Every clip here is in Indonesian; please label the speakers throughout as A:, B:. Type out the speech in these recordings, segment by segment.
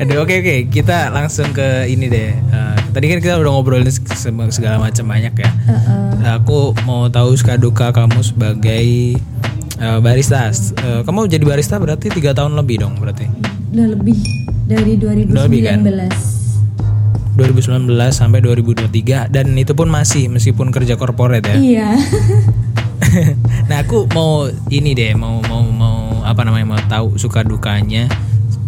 A: Aduh, oke oke, kita langsung ke ini deh. Eh, tadi kan kita udah ngobrolin se- se- segala macam banyak ya. Aku mau tahu suka duka kamu sebagai eh, barista. Eh, kamu jadi barista berarti tiga tahun lebih dong berarti.
B: Udah lebih dari 2019.
A: Udah lebih, kan? 2019 sampai 2023 dan itu pun masih meskipun kerja korporat ya.
B: Iya.
A: nah aku mau ini deh mau mau mau apa namanya mau tahu suka dukanya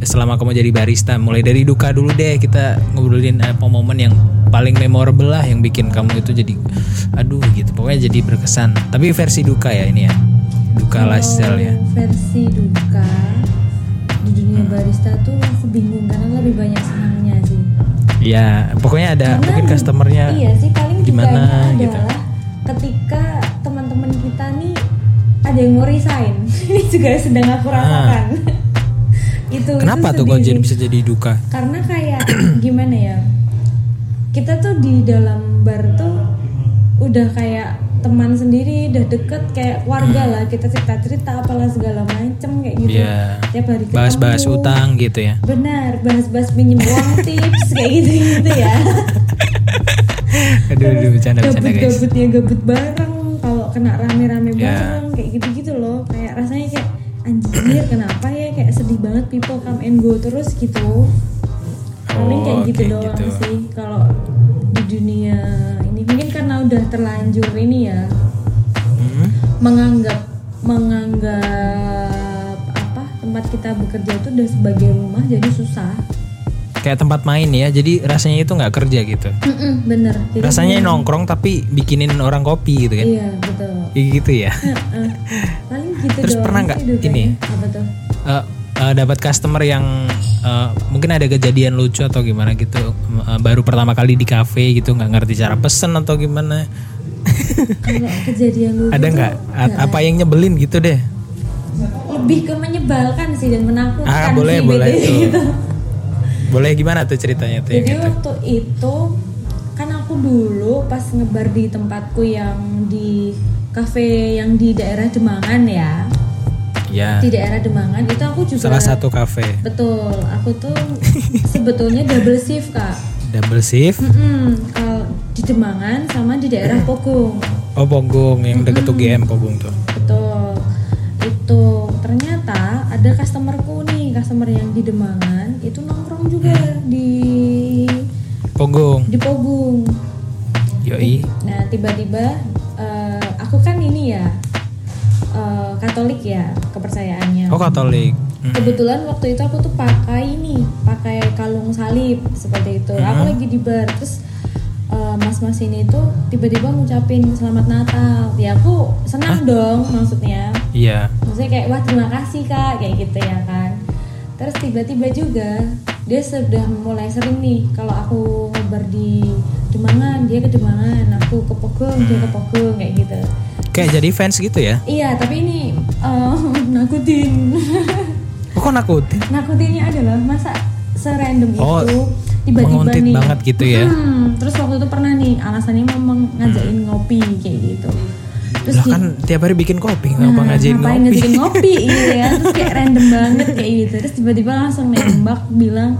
A: selama kamu jadi barista mulai dari duka dulu deh kita ngobrolin eh, apa momen yang paling memorable lah yang bikin kamu itu jadi aduh gitu pokoknya jadi berkesan tapi versi duka ya ini ya
B: Oh.
A: duka lifestyle ya Hmm.
B: Versi duka di dunia barista tuh aku bingung karena lebih banyak senangnya sih.
A: ya pokoknya ada
B: Karena
A: mungkin
B: di-
A: customernya
B: Iya sih paling
A: gimana
B: dukanya
A: gitu.
B: adalah ketika teman-teman kita nih ada yang mau resign. Ini juga sedang aku rasakan. itu
A: Ah. kenapa
B: itu
A: tuh kok
B: sedih
A: jadi
B: sih.
A: bisa jadi duka
B: karena kayak gimana ya kita tuh di dalam bar tuh udah kayak teman sendiri udah deket kayak keluarga lah kita cerita cerita apalah segala macem kayak gitu
A: Iya.
B: tiap hari ketemu
A: bahas-bahas utang gitu ya
B: benar bahas-bahas pinjem uang tips kayak gitu gitu ya
A: aduh aduh bercanda bercanda guys
B: gabut-gabutnya gabut bareng kalau kena rame-rame
A: Ya.
B: bareng kayak gitu-gitu loh kayak rasanya kayak anjir kenapa ya kayak sedih banget people come and go terus gitu paling kayak
A: Oh,
B: gitu
A: kayak
B: doang
A: gitu.
B: sih kalau di dunia ini mungkin karena udah terlanjur ini ya
A: Hmm?
B: menganggap menganggap apa tempat kita bekerja itu udah sebagai rumah jadi susah
A: kayak tempat main ya jadi rasanya itu nggak kerja gitu
B: Mm-mm, bener jadi
A: rasanya nongkrong tapi bikinin orang kopi gitu kan
B: iya betul
A: Iya gitu ya
B: Heeh. paling gitu
A: Terus
B: doang
A: pernah
B: sih
A: nggak
B: dukanya.
A: ini?
B: apa tuh
A: Eh, eh, dapat customer yang eh, mungkin ada kejadian lucu atau gimana gitu eh, baru pertama kali di cafe gitu nggak ngerti cara pesen atau gimana
B: kalau kejadian lucu
A: ada
B: tuh
A: nggak A- apa yang nyebelin gitu deh
B: lebih ke menyebalkan sih dan menakutkan
A: ah boleh
B: sih,
A: boleh
B: beda
A: tuh
B: gitu.
A: boleh gimana tuh ceritanya tuh yang
B: jadi
A: gitu
B: waktu itu kan aku dulu pas ngebar di tempatku yang di kafe yang di daerah Demangan ya
A: ya
B: di daerah Demangan itu aku juga
A: salah satu cafe
B: betul aku tuh sebetulnya double shift kak
A: double shift
B: Mm-mm, kalau di Demangan sama di daerah Pogung
A: oh Bogong yang deket UGM Bogong tuh
B: Betul. Itu ternyata ada customerku nih, customer yang di Demangan itu nongkrong juga
A: Hmm.
B: di
A: Bogong
B: di Pogung.
A: yoi
B: Nah, tiba-tiba eh, aku kan ini ya eh, Katolik ya kepercayaannya.
A: oh Katolik Hmm.
B: Kebetulan waktu itu aku tuh pakai ini, pakai kalung salib seperti
A: Hmm.
B: itu. Aku lagi di bar, terus eh, mas-mas ini tuh tiba-tiba ngucapin selamat Natal. Ya aku senang dong maksudnya.
A: iya
B: maksudnya kayak wah terima kasih kak kayak gitu ya kan terus tiba-tiba juga dia sudah mulai sering nih kalau aku ngobrol di Demangan dia ke Demangan aku ke Pogong dia
A: Hmm.
B: ke Pogong kayak gitu
A: kayak jadi fans gitu ya
B: iya tapi ini eh, nakutin
A: Oh, kok nakutin?
B: nakutinnya adalah masa serandom
A: Oh,
B: itu tiba-tiba
A: menguntit
B: nih
A: banget gitu ya.
B: Hmm, terus waktu itu pernah nih alasannya mau meng- ngajakin ngopi kayak gitu terus
A: Hmm. Lah
B: di-
A: kan tiap hari bikin kopi, ngapa
B: Nah,
A: ngajain
B: ngapain
A: ngopi?
B: ngajakin ngopi gitu ya terus kayak random banget kayak gitu terus tiba-tiba langsung nembak bilang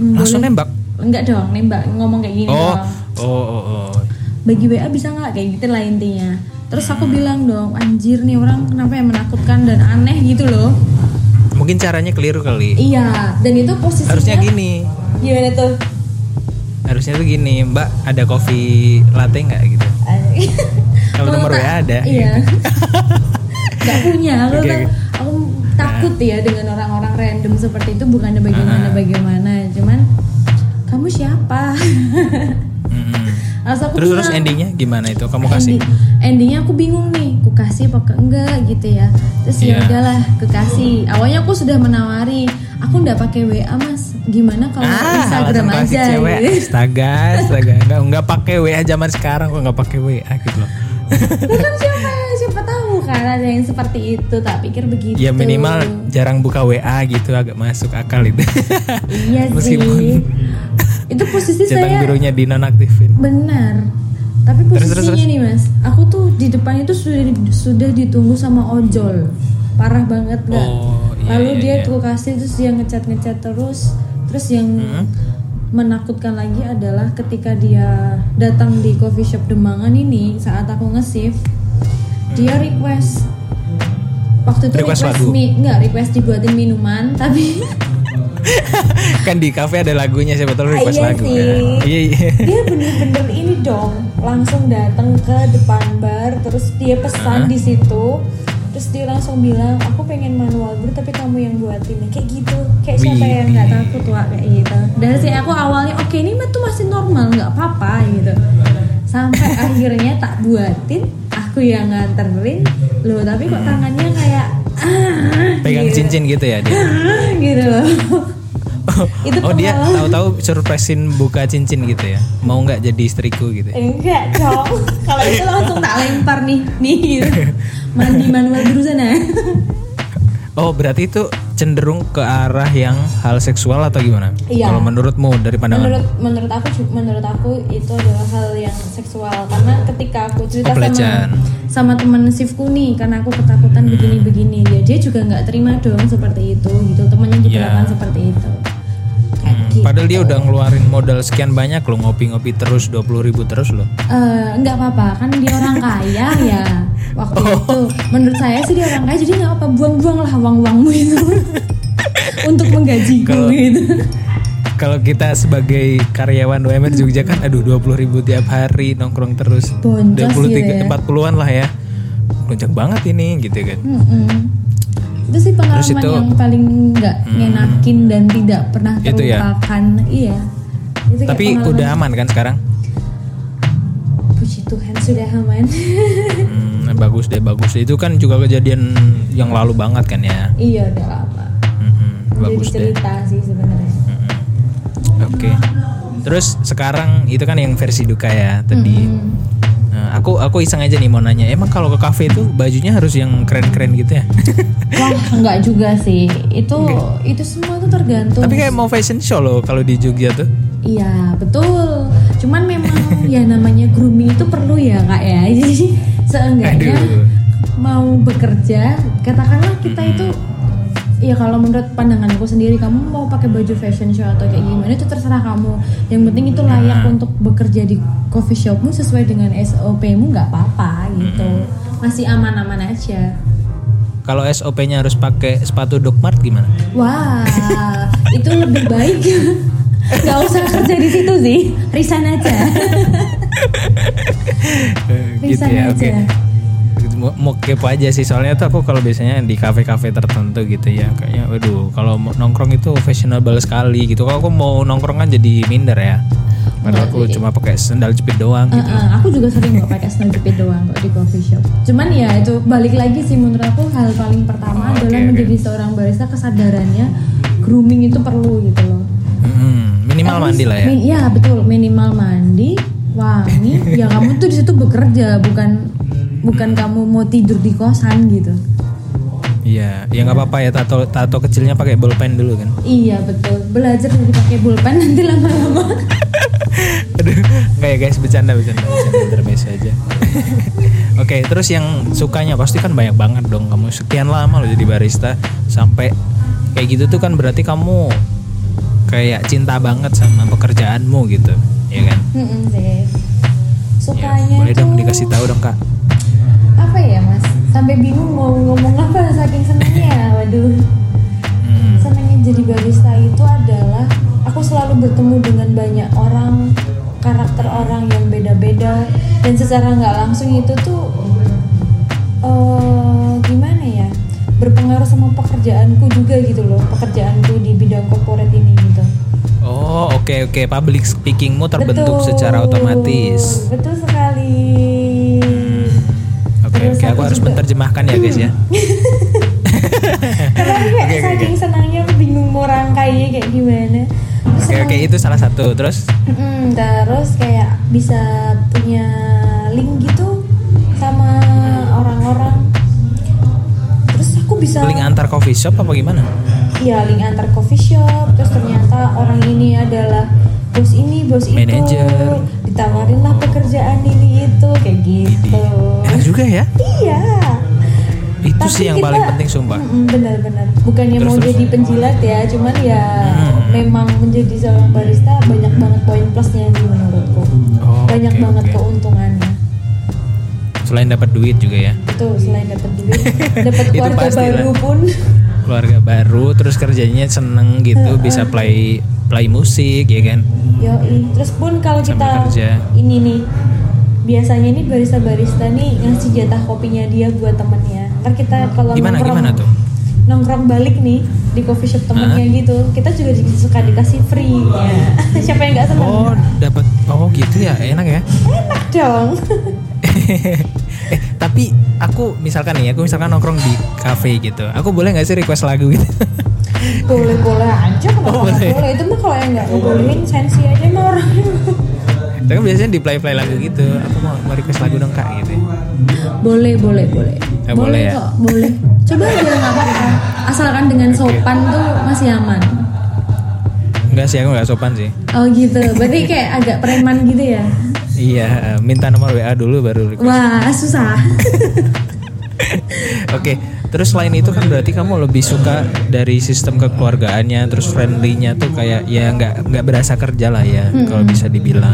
B: "Mm,
A: Langsung
B: boleh."
A: nembak.
B: enggak dong nembak ngomong kayak gini
A: Oh,
B: doang.
A: oh, oh, oh.
B: bagi WA bisa nggak kayak gitu lah intinya terus aku bilang dong anjir nih orang kenapa yang menakutkan dan aneh gitu loh
A: Mungkin caranya keliru kali.
B: iya dan itu posisinya
A: Harusnya gini.
B: gimana tuh
A: Harusnya tuh gini, Mbak, ada kopi latte nggak gitu? Kalau nomor
B: tak-
A: WA ada,
B: iya nggak punya aku
A: Oke,
B: tak-
A: oke. Nah.
B: aku takut ya dengan orang-orang random seperti itu bukannya
A: Ah.
B: bagaimana bagaimana cuman kamu siapa
A: Mm-mm.
B: Langsung aku
A: Terus terus
B: bilang,
A: endingnya gimana itu? Kamu kasih?
B: Iya. "Ending- endingnya aku bingung nih ku kasih apa ke enggak gitu ya terus
A: Iya.
B: ya udahlah ku kasih awalnya aku sudah menawari aku nggak pakai WA mas gimana kalau Instagram
A: Ah, alasan klasik
B: aja
A: cewek.
B: gitu.
A: Astaga, astaga. Enggak enggak pakai WA zaman sekarang kok enggak pakai WA gitu loh.
B: Bukan kan siapa siapa tahu kan ada yang seperti itu tak pikir begitu
A: ya minimal jarang buka WA gitu agak masuk akal itu.
B: iya sih
A: Meskipun-
B: itu posisi
A: Centang
B: saya
A: birunya dinonaktifin.
B: benar tapi
A: Terus,
B: posisinya
A: terus, terus.
B: nih mas aku tuh di depan itu sudah sudah ditunggu sama ojol parah banget nggak
A: Oh, iya,
B: lalu
A: iya,
B: dia
A: iya.
B: tuh kasih terus dia ngecat ngecat terus Terus yang
A: Hmm.
B: menakutkan lagi adalah ketika dia datang di coffee shop Demangan ini saat aku nge-shift dia request waktu itu
A: Hmm. Request
B: request,
A: lagu?
B: mi- nggak request dibuatin minuman tapi
A: kan di kafe ada lagunya siapa tahu request
B: Iya
A: lagu
B: sih.
A: kan. Iya iya.
B: dia bener-bener ini dong langsung datang ke depan bar terus dia
A: Hah?
B: pesan di situ terus dia langsung bilang aku pengen manual brew tapi kamu yang buatin kayak gitu kayak siapa
A: Widih.
B: yang nggak takut wah kayak gitu dari sini aku awalnya oke ini mah tuh masih normal nggak apa-apa gitu sampai akhirnya tak buatin aku yang nganterin loh tapi kok tangannya kayak ah,
A: Pegang
B: gitu.
A: cincin gitu ya dia.
B: Ah, gitu loh Itu
A: oh dia
B: pengalaman.
A: tahu-tahu surprisein buka cincin gitu ya. Mau nggak jadi istriku gitu. ya.
B: Enggak, cok. Kalau itu langsung tak lempar nih, nih gitu. Mandi manual dulu sana.
A: Oh berarti itu cenderung ke arah yang hal seksual atau gimana?
B: Iya.
A: Kalau menurutmu dari pandangan?
B: menurut menurut aku ju- menurut aku itu adalah hal yang seksual karena ketika aku cerita
A: Pelecehan.
B: sama sama teman shiftku nih karena aku
A: Hmm.
B: ketakutan begini-begini ya dia juga nggak terima dong seperti itu gitu temannya juga
A: Iya.
B: akan seperti itu kayak
A: Hmm,
B: gitu.
A: Padahal dia udah ngeluarin modal sekian banyak loh ngopi-ngopi terus 20.000 ribu terus loh.
B: Eh, nggak apa-apa kan dia orang kaya ya waktu
A: Oh.
B: itu menurut saya sih dia orang kaya jadi nggak apa buang-buang lah uang-uangmu itu untuk menggajiku
A: Kalau-
B: gitu
A: Kalau kita sebagai karyawan UMR
B: Hmm.
A: Jogja kan aduh 20.000 ribu tiap hari nongkrong terus.
B: Boncos
A: 23
B: gitu ya.
A: 40-an lah ya. Lonjak banget ini gitu kan.
B: Mm-mm. itu sih pengalaman
A: Terus itu-
B: yang paling nggak ngenakin dan tidak pernah
A: Itu ya?
B: terlupakan iya itu kayak
A: Tapi
B: pengalaman-
A: udah aman kan sekarang?
B: puji Tuhan sudah aman
A: Hmm, bagus deh bagus deh. itu kan juga kejadian yang lalu banget kan ya
B: iya udah lama
A: Mhm,
B: Iya, jadi
A: bagus deh
B: cerita sih sebenarnya
A: Mhm. oke terus sekarang itu kan yang versi duka ya tadi
B: Mm-mm.
A: Nah, aku aku iseng aja nih mau nanya emang kalau ke kafe itu bajunya harus yang keren-keren gitu ya
B: Wah, enggak juga sih. Itu itu semua tuh tergantung.
A: tapi kayak mau fashion show loh kalau di Jogja tuh
B: Iya betul. Cuman memang ya namanya grooming itu perlu ya kak ya. Jadi seenggaknya
A: Aduh.
B: mau bekerja katakanlah kita itu ya kalau menurut pandanganku sendiri kamu mau pakai baju fashion show atau kayak gimana itu terserah kamu. Yang penting itu layak untuk bekerja di coffee shopmu sesuai dengan SOP-mu nggak apa-apa gitu. Masih aman-aman aja.
A: kalau SOP-nya harus pakai sepatu Doc Mart gimana
B: Wah, itu lebih baik. Gak usah kerja di situ sih, resign aja.
A: Eh, gitu
B: Resign
A: ya oke
B: aja.
A: mau, mau kepo aja sih soalnya tuh aku kalau biasanya di kafe-kafe tertentu gitu ya kayaknya waduh kalau mau nongkrong itu fashionable sekali gitu kalau aku mau nongkrong kan jadi minder ya padahal aku
B: Iya.
A: cuma pakai sandal jepit doang
B: Eh,
A: gitu
B: eh, aku juga sering kok pakai snow jepit doang kok di coffee shop. Cuman ya itu balik lagi sih menurut aku hal paling pertama
A: Oh, oke,
B: adalah
A: oke.
B: menjadi seorang barista kesadarannya grooming itu perlu gitu loh.
A: Mm-mm, minimal
B: Harus-
A: mandi lah ya
B: min- ya betul minimal mandi, wangi. ya kamu tuh di situ bekerja bukan bukan kamu mau tidur di kosan gitu.
A: iya ya nggak apa-apa ya tato tato kecilnya pakai bolpen dulu kan
B: Iya betul belajar dari pakai pulpen nanti lama-lama.
A: aduh nggak ya guys bercanda bercanda bercanda intermezzo aja oke terus yang sukanya pasti kan banyak banget dong kamu sekian lama lo jadi barista sampai kayak gitu tuh kan berarti kamu kayak cinta banget sama pekerjaanmu gitu ya kan
B: Mm-mm sih.
A: Ya,
B: Sukanya
A: boleh dong
B: tuh
A: dikasih tahu dong kak
B: apa ya mas? Sampai bingung mau ngomong apa saking senangnya. Waduh,
A: Hmm,
B: senangnya jadi barista itu adalah aku selalu bertemu dengan banyak orang, karakter orang yang beda-beda dan secara nggak langsung itu tuh eh, gimana ya? Berpengaruh sama pekerjaanku juga gitu loh, pekerjaanku di bidang corporate ini gitu.
A: oh oke oke public speakingmu terbentuk
B: Betul.
A: secara otomatis Hmm,
B: Betul sekali.
A: oke
B: Terus
A: oke aku
B: aku
A: harus
B: juga-
A: menerjemahkan ya guys ya
B: Karena aku kayak
A: Oke, oke,
B: saking senangnya aku bingung mau rangkainya kayak gimana. Terus
A: oke
B: senang-
A: oke itu salah satu terus
B: Mm-mm, terus kayak bisa punya link gitu sama orang-orang. Terus aku bisa
A: link antar coffee shop apa gimana
B: Iya link antar coffee shop terus ternyata orang ini adalah bos ini bos itu
A: Manager.
B: ditawarin
A: Eh,
B: lah pekerjaan ini itu kayak gitu
A: Enak juga ya.
B: iya
A: itu
B: Tapi
A: sih yang
B: kita-
A: paling penting sumpah
B: Mm-mm, benar-benar bukannya
A: Terus,
B: mau
A: terus.
B: jadi penjilat ya cuman ya
A: Mm-mm.
B: memang menjadi seorang barista banyak banget poin plusnya sih menurutku
A: Oh,
B: banyak
A: oke,
B: banget
A: oke.
B: keuntungannya
A: selain dapat duit juga ya
B: itu selain dapat duit dapat
A: Itu
B: keluarga
A: pastilah.
B: baru pun
A: keluarga baru terus kerjanya seneng gitu bisa play play musik ya kan
B: Yoi, terus pun kalau
A: Sambil
B: kita
A: kerja.
B: ini nih biasanya ini barista-barista nih ngasih jatah kopinya dia buat temennya. Ntar kita kalau
A: Hmm. Gimana,
B: nongkrong
A: gimana tuh?
B: nongkrong balik nih di coffee shop temennya
A: Hah?
B: gitu, kita juga di- suka dikasih free. Ya. Siapa yang nggak seneng?
A: oh dapat oh gitu ya enak ya
B: Enak dong.
A: eh tapi aku misalkan nih aku misalkan nongkrong di cafe gitu aku boleh nggak sih request lagu gitu
B: boleh boleh aja kenapa
A: Oh,
B: nggak
A: boleh. Oh.
B: boleh. Itu mah kalau yang nggak ngebolehin sensi aja mah orangnya.
A: tapi biasanya di play play lagu gitu aku mau, mau request lagu dong kak gitu
B: boleh boleh boleh.
A: Eh, boleh ya?
B: kok, boleh. Coba aja nggak apa-apa. Asalkan dengan sopan tuh masih aman.
A: enggak sih aku nggak sopan sih
B: Oh gitu, berarti kayak agak preman gitu ya?
A: iya eh, minta nomor wa dulu baru request
B: Wah susah.
A: Oke, terus selain itu kan berarti kamu lebih suka dari sistem kekeluargaannya, terus friendly-nya tuh kayak ya nggak nggak berasa kerja lah ya, kalau bisa dibilang.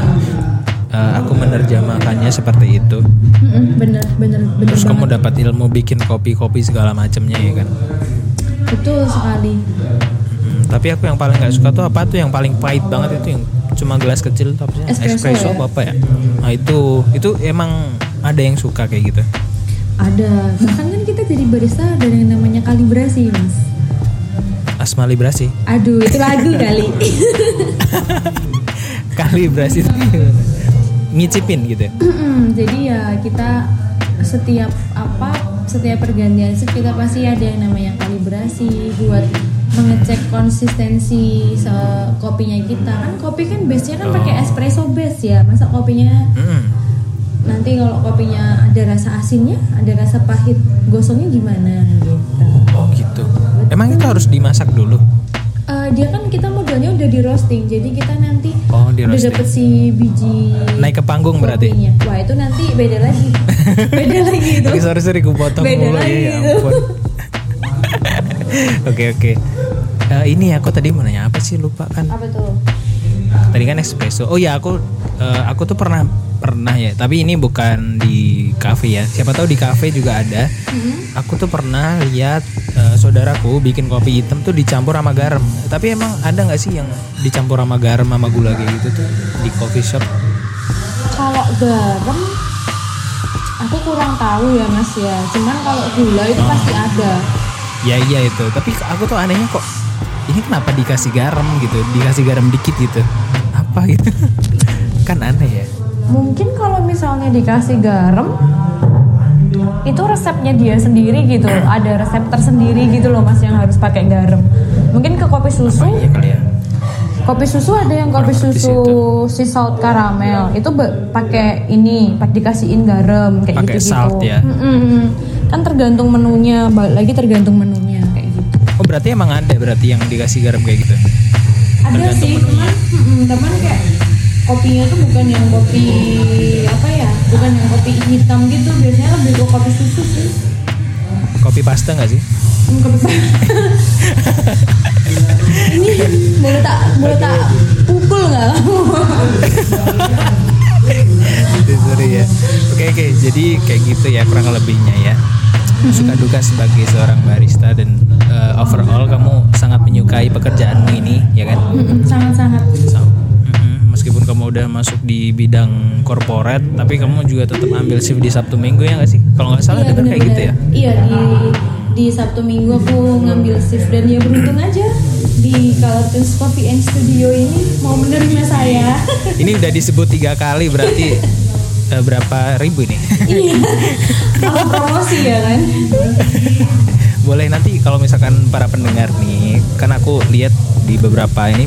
A: Eh, aku menerjemahkannya seperti itu.
B: Mm-mm, bener bener bener
A: Terus
B: banget.
A: kamu dapat ilmu bikin kopi-kopi segala macamnya ya kan.
B: Betul sekali.
A: Mm, tapi aku yang paling nggak suka tuh apa tuh yang paling pahit banget itu yang cuma gelas kecil tuh apa sih?
B: Espresso ya?
A: apa, apa ya? Nah itu itu emang ada yang suka kayak gitu.
B: Ada bahkan kan kita jadi barista ada yang namanya kalibrasi mas.
A: Asma librasi.
B: Aduh itu lagu kali.
A: Kalibrasi itu gimana? ngicipin gitu. ya?
B: Mm-mm, Jadi ya kita setiap apa setiap pergantian shift kita pasti ada yang namanya kalibrasi buat mengecek konsistensi se- kopinya kita kan kopi kan base nya kan pakai espresso base ya masa kopinya
A: Mm.
B: nanti kalau kopinya ada rasa asinnya, ada rasa pahit, gosongnya gimana gitu.
A: Oh gitu. Emang itu harus dimasak dulu?
B: Eh, dia kan kita modalnya udah di roasting, jadi kita nanti
A: Oh, di
B: udah
A: roasting.
B: dapet si biji
A: Naik ke panggung berarti?
B: kopinya. Wah itu nanti beda lagi, beda lagi itu.
A: Oke, sorry sorry gue potong
B: Gitu? Beda
A: mulu
B: lagi
A: ya, ya
B: itu.
A: ampun. Oke oke. Eh, ini aku tadi mau nanya apa sih lupa kan?
B: Apa tuh?
A: Tadi kan espresso. Oh ya aku eh, aku tuh pernah pernah ya. Tapi ini bukan di cafe ya. Siapa tahu di cafe juga ada. Aku tuh pernah lihat eh, saudaraku bikin kopi hitam tuh dicampur sama garam. Tapi emang ada nggak sih yang dicampur sama garam sama gula kayak gitu tuh di coffee shop?
B: Kalau garam, aku kurang tahu ya mas ya. Cuman kalau gula itu pasti
A: Oh.
B: ada.
A: Ya iya itu. Tapi aku tuh anehnya kok ini kenapa dikasih garam gitu? Dikasih garam dikit gitu. Apa gitu? kan aneh ya.
B: Mungkin kalau misalnya dikasih garam itu resepnya dia sendiri gitu. Ada resep tersendiri gitu loh Mas yang harus pakai garam. Mungkin ke kopi susu,
A: Oh iya kali ya.
B: kopi susu ada yang kopi
A: Kurang ngerti sih
B: susu si salt karamel. Itu be- pakai ini, pak dikasihin garam kayak
A: Pakai
B: gitu gitu.
A: salt ya.
B: Kan tergantung menunya, balik lagi tergantung menunya kayak gitu.
A: Oh berarti emang ada berarti yang dikasih garam kayak gitu.
B: ada
A: Tergantung
B: sih
A: menunya.
B: teman teman kayak kopinya tuh bukan yang kopi apa ya bukan yang kopi hitam gitu biasanya lebih ke kopi susu sih
A: Kopi pasta nggak sih?
B: Hmm, kopi ini boleh tak boleh tak pukul nggak kamu
A: Sorry, Sorry ya. Oke oke. Jadi kayak gitu ya kurang lebihnya ya. Suka duka sebagai seorang barista dan eh, overall kamu sangat menyukai pekerjaanmu ini ya kan?
B: sangat sangat
A: Sama. Mm-mm. Meskipun kamu udah masuk di bidang korporat, tapi kamu juga tetap ambil shift di Sabtu Minggu ya nggak sih? Kalau nggak salah
B: iya
A: dengar kayak gitu ya.
B: benar-benar. iya di di Sabtu Minggu aku ngambil shift dan ya beruntung aja di Colortons Coffee and Studio ini mau menerima saya
A: Ini udah disebut tiga kali berarti eh, berapa ribu nih?
B: iya Aku promosi ya kan
A: Boleh nanti kalau misalkan para pendengar nih, kan aku lihat di beberapa ini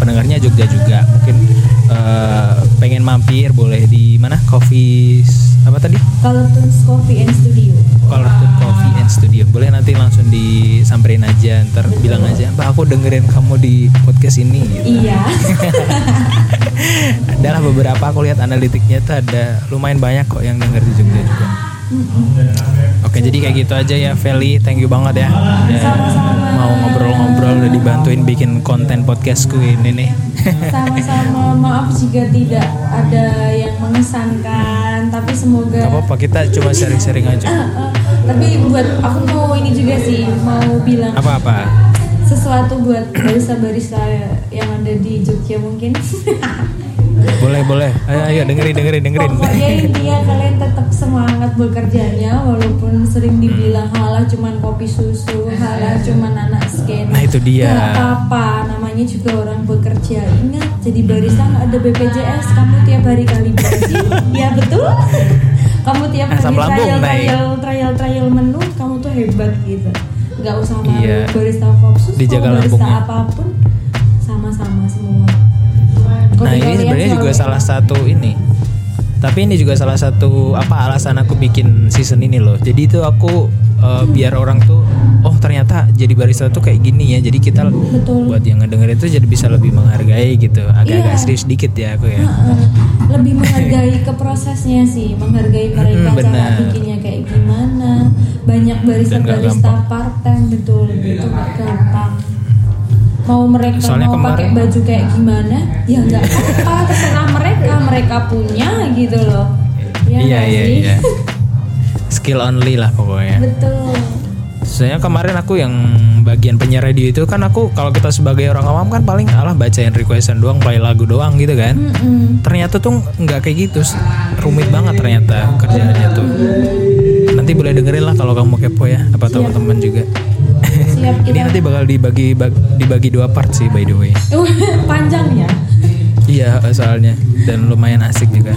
A: pendengarnya Jogja juga, mungkin eh, pengen mampir boleh di mana? Coffee apa tadi?
B: Colortons Coffee and Studio.
A: Colorful Coffee and Studio. Boleh nanti langsung disamperin aja, ntar bilang aja, Pak aku dengerin kamu di podcast ini. Gitu.
B: Iya.
A: Adalah beberapa aku lihat analitiknya tuh ada lumayan banyak kok yang denger di Jogja juga. Oke, jadi kayak gitu aja ya, Feli. Thank you banget ya. Ya, Mau ngobrol-ngobrol udah dibantuin bikin konten podcastku ini nih.
B: sama-sama maaf jika tidak ada yang mengesankan tapi semoga
A: Gak apa-apa, kita cuma sharing-sharing aja.
B: Eh, eh, tapi buat aku mau ini juga sih mau bilang
A: Apa-apa?
B: sesuatu buat barista-barista yang ada di Jogja mungkin
A: Boleh, boleh. Ayo, ayo Ya, dengerin, dengerin, dengerin.
B: pokoknya intinya kalian tetap semangat bekerjanya walaupun sering dibilang
A: Hmm.
B: halah cuman kopi susu halah cuman anak skena
A: Eh. Nah, itu dia.
B: Nggak apa-apa namanya juga orang bekerja ingat jadi barista nggak
A: Hmm.
B: ada BPJS kamu tiap hari kalibrasi ya betul kamu tiap hari
A: Asam lambung
B: trial,
A: naik.
B: trial trial trial menu kamu tuh hebat gitu nggak usah malu
A: Iya.
B: barista kopsus mau
A: Dijaga
B: barista
A: lambungnya.
B: apapun sama-sama semua
A: Nah,
B: Kopi
A: ini
B: kalian
A: sebenarnya
B: selalu
A: juga
B: enak.
A: salah satu ini. Tapi ini juga salah satu apa alasan aku bikin season ini loh. Jadi itu aku eh, biar orang tuh oh ternyata jadi barista tuh kayak gini ya. Jadi kita
B: Betul.
A: buat yang ngedengerin itu jadi bisa lebih menghargai gitu. Agak-agak
B: Iya.
A: serius dikit ya aku ya.
B: Heeh. lebih menghargai ke prosesnya sih menghargai mereka
A: Mm,
B: cara
A: benar.
B: bikinnya kayak gimana banyak barista
A: Dan nggak
B: barista part time betul itu nggak gampang mau mereka
A: Soalnya
B: mau
A: kemarin-
B: pakai baju kayak gimana ya nggak apa terserah mereka mereka punya gitu loh ya
A: iya
B: nggak
A: iya
B: sih?
A: iya. Skill only lah pokoknya.
B: betul
A: Soalnya kemarin aku yang bagian penyiar radio itu kan aku kalau kita sebagai orang awam kan paling alah bacain requestan doang, play lagu doang gitu kan.
B: Mm-mm.
A: ternyata tuh nggak kayak gitu rumit banget ternyata kerjaannya tuh nanti boleh dengerin lah kalau kamu mau kepo ya apa tahu teman juga
B: siap
A: ini
B: kita
A: nanti bakal dibagi bag- dibagi dua part sih by the way
B: Uh, panjang ya
A: iya soalnya dan lumayan asik juga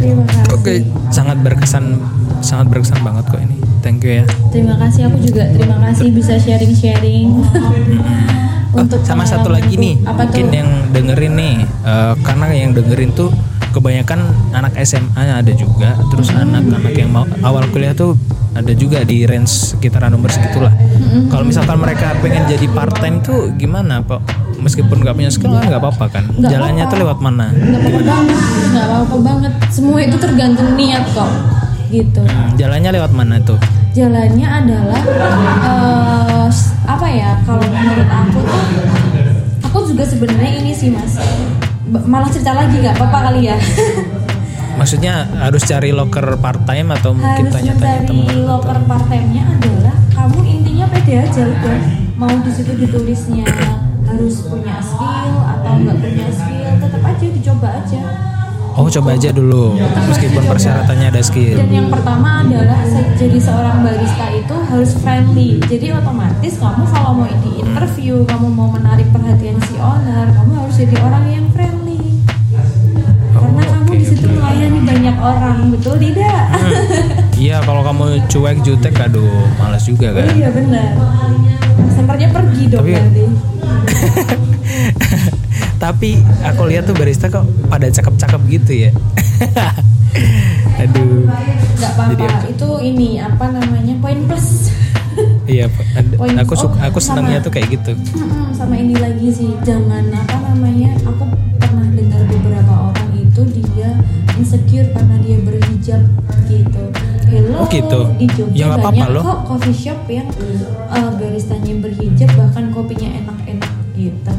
B: terima kasih
A: oke sangat berkesan sangat berkesan banget kok ini thank you ya
B: terima kasih aku juga terima kasih bisa sharing sharing
A: Oh, sama satu lagi nih
B: apa
A: mungkin
B: tuh
A: yang dengerin nih eh, karena yang dengerin tuh kebanyakan anak SMA ada juga terus
B: Hmm.
A: anak-anak yang mau awal kuliah tuh ada juga di range sekitaran nomor segitulah
B: Hmm.
A: kalau misalkan mereka pengen jadi part time tuh gimana kok meskipun nggak punya skill kan nggak apa-apa kan
B: Nggak
A: jalannya
B: apa-apa.
A: tuh lewat mana
B: nggak apa-apa banget nggak apa-apa banget semua itu tergantung niat kok gitu
A: Hmm, jalannya lewat mana tuh
B: jalannya adalah eh, s- apa ya kalau menurut aku tuh aku juga sebenarnya ini sih mas Ba- malah cerita lagi nggak apa-apa kali ya
A: maksudnya harus cari loker part time atau mungkin
B: harus
A: tanya-tanya
B: mencari
A: teman
B: loker part time-nya adalah kamu intinya pede aja udah mau di situ ditulisnya harus punya skill atau nggak punya skill tetap aja dicoba aja
A: oh coba aja dulu
B: Iya,
A: meskipun persyaratannya ada skill
B: dan yang pertama adalah se- jadi seorang barista itu harus friendly jadi otomatis kamu kalau mau di interview kamu mau menarik perhatian si owner kamu harus jadi orang yang friendly
A: Oh,
B: karena kamu di situ melayani banyak orang betul tidak
A: Iya kalau kamu cuek jutek aduh males juga kan
B: iya benar customernya pergi dong
A: Tapi-
B: nanti
A: Tapi aku lihat tuh barista kok pada cakep-cakep gitu ya Aduh
B: nggak apa-apa itu ini apa namanya poin plus
A: Iya Pak. Ad-
B: Poin-
A: aku suka,
B: oh,
A: aku senangnya
B: sama.
A: tuh kayak gitu
B: Mm-mm, sama ini lagi sih jangan apa namanya aku pernah dengar beberapa orang itu dia insecure karena dia berhijab gitu hello
A: Oh, gitu.
B: di Jogja
A: Ya, nggak apa-apa
B: banyak
A: loh.
B: kok coffee shop yang uh, baristanya berhijab bahkan kopinya enak-enak gitu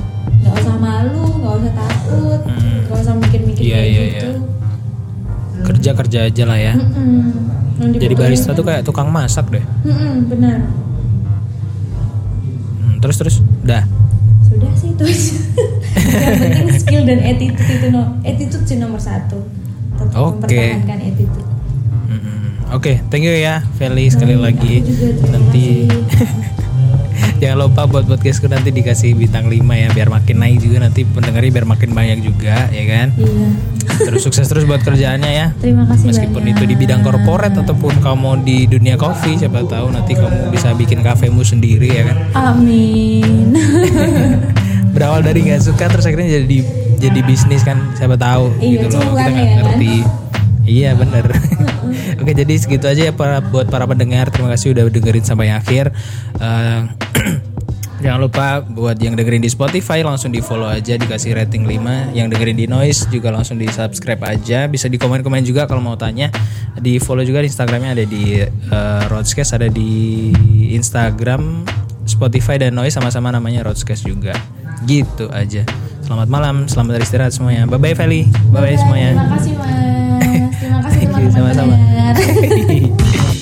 B: nggak usah malu nggak usah takut
A: Hmm.
B: nggak usah mikir-mikir
A: Iya,
B: kayak
A: iya,
B: gitu
A: iya. Kerja-kerja aja lah ya
B: Mm-mm. Yang
A: Jadi
B: dibutuhin
A: barista
B: kan-
A: tuh kayak tukang masak deh
B: Mm-mm, benar
A: Hmm, Terus-terus udah
B: sudah sih itu aja. yang penting skill dan attitude itu no, attitude sih nomor satu tetap
A: Oke.
B: mempertahankan attitude
A: Mm-mm. Oke thank you ya Feli sekali
B: Baik,
A: lagi
B: aku juga terima
A: Nanti
B: kasih.
A: Jangan lupa buat podcastku nanti dikasih bintang 5 ya Biar makin naik juga nanti pendengarnya biar makin banyak juga ya kan
B: iya
A: Terus sukses terus buat kerjaannya ya.
B: terima kasih
A: Meskipun
B: banyak.
A: itu di bidang korporat ataupun kamu di dunia kopi, siapa tahu nanti kamu bisa bikin kafemu sendiri ya kan.
B: amin
A: Berawal dari nggak suka terus akhirnya jadi jadi bisnis kan, siapa tahu
B: Iya,
A: gitu loh. Kita
B: cuan
A: nggak
B: ya kan?
A: ngerti. Iya bener Oke jadi segitu aja ya para, buat para pendengar Terima kasih udah dengerin sampai akhir Eh, Jangan lupa buat yang dengerin di Spotify langsung di follow aja dikasih rating 5 Yang dengerin di Noise juga langsung di subscribe aja Bisa di komen-komen juga kalau mau tanya di follow juga di Instagramnya ada di eh, Roadscast ada di Instagram Spotify dan Noise sama-sama namanya Roadscast juga gitu aja selamat malam selamat beristirahat semuanya bye bye Feli bye bye semuanya
B: Terima kasih Mas. Terima
A: Thank
B: kasih
A: you,
B: teman-teman
A: sama-sama.
B: pendengar.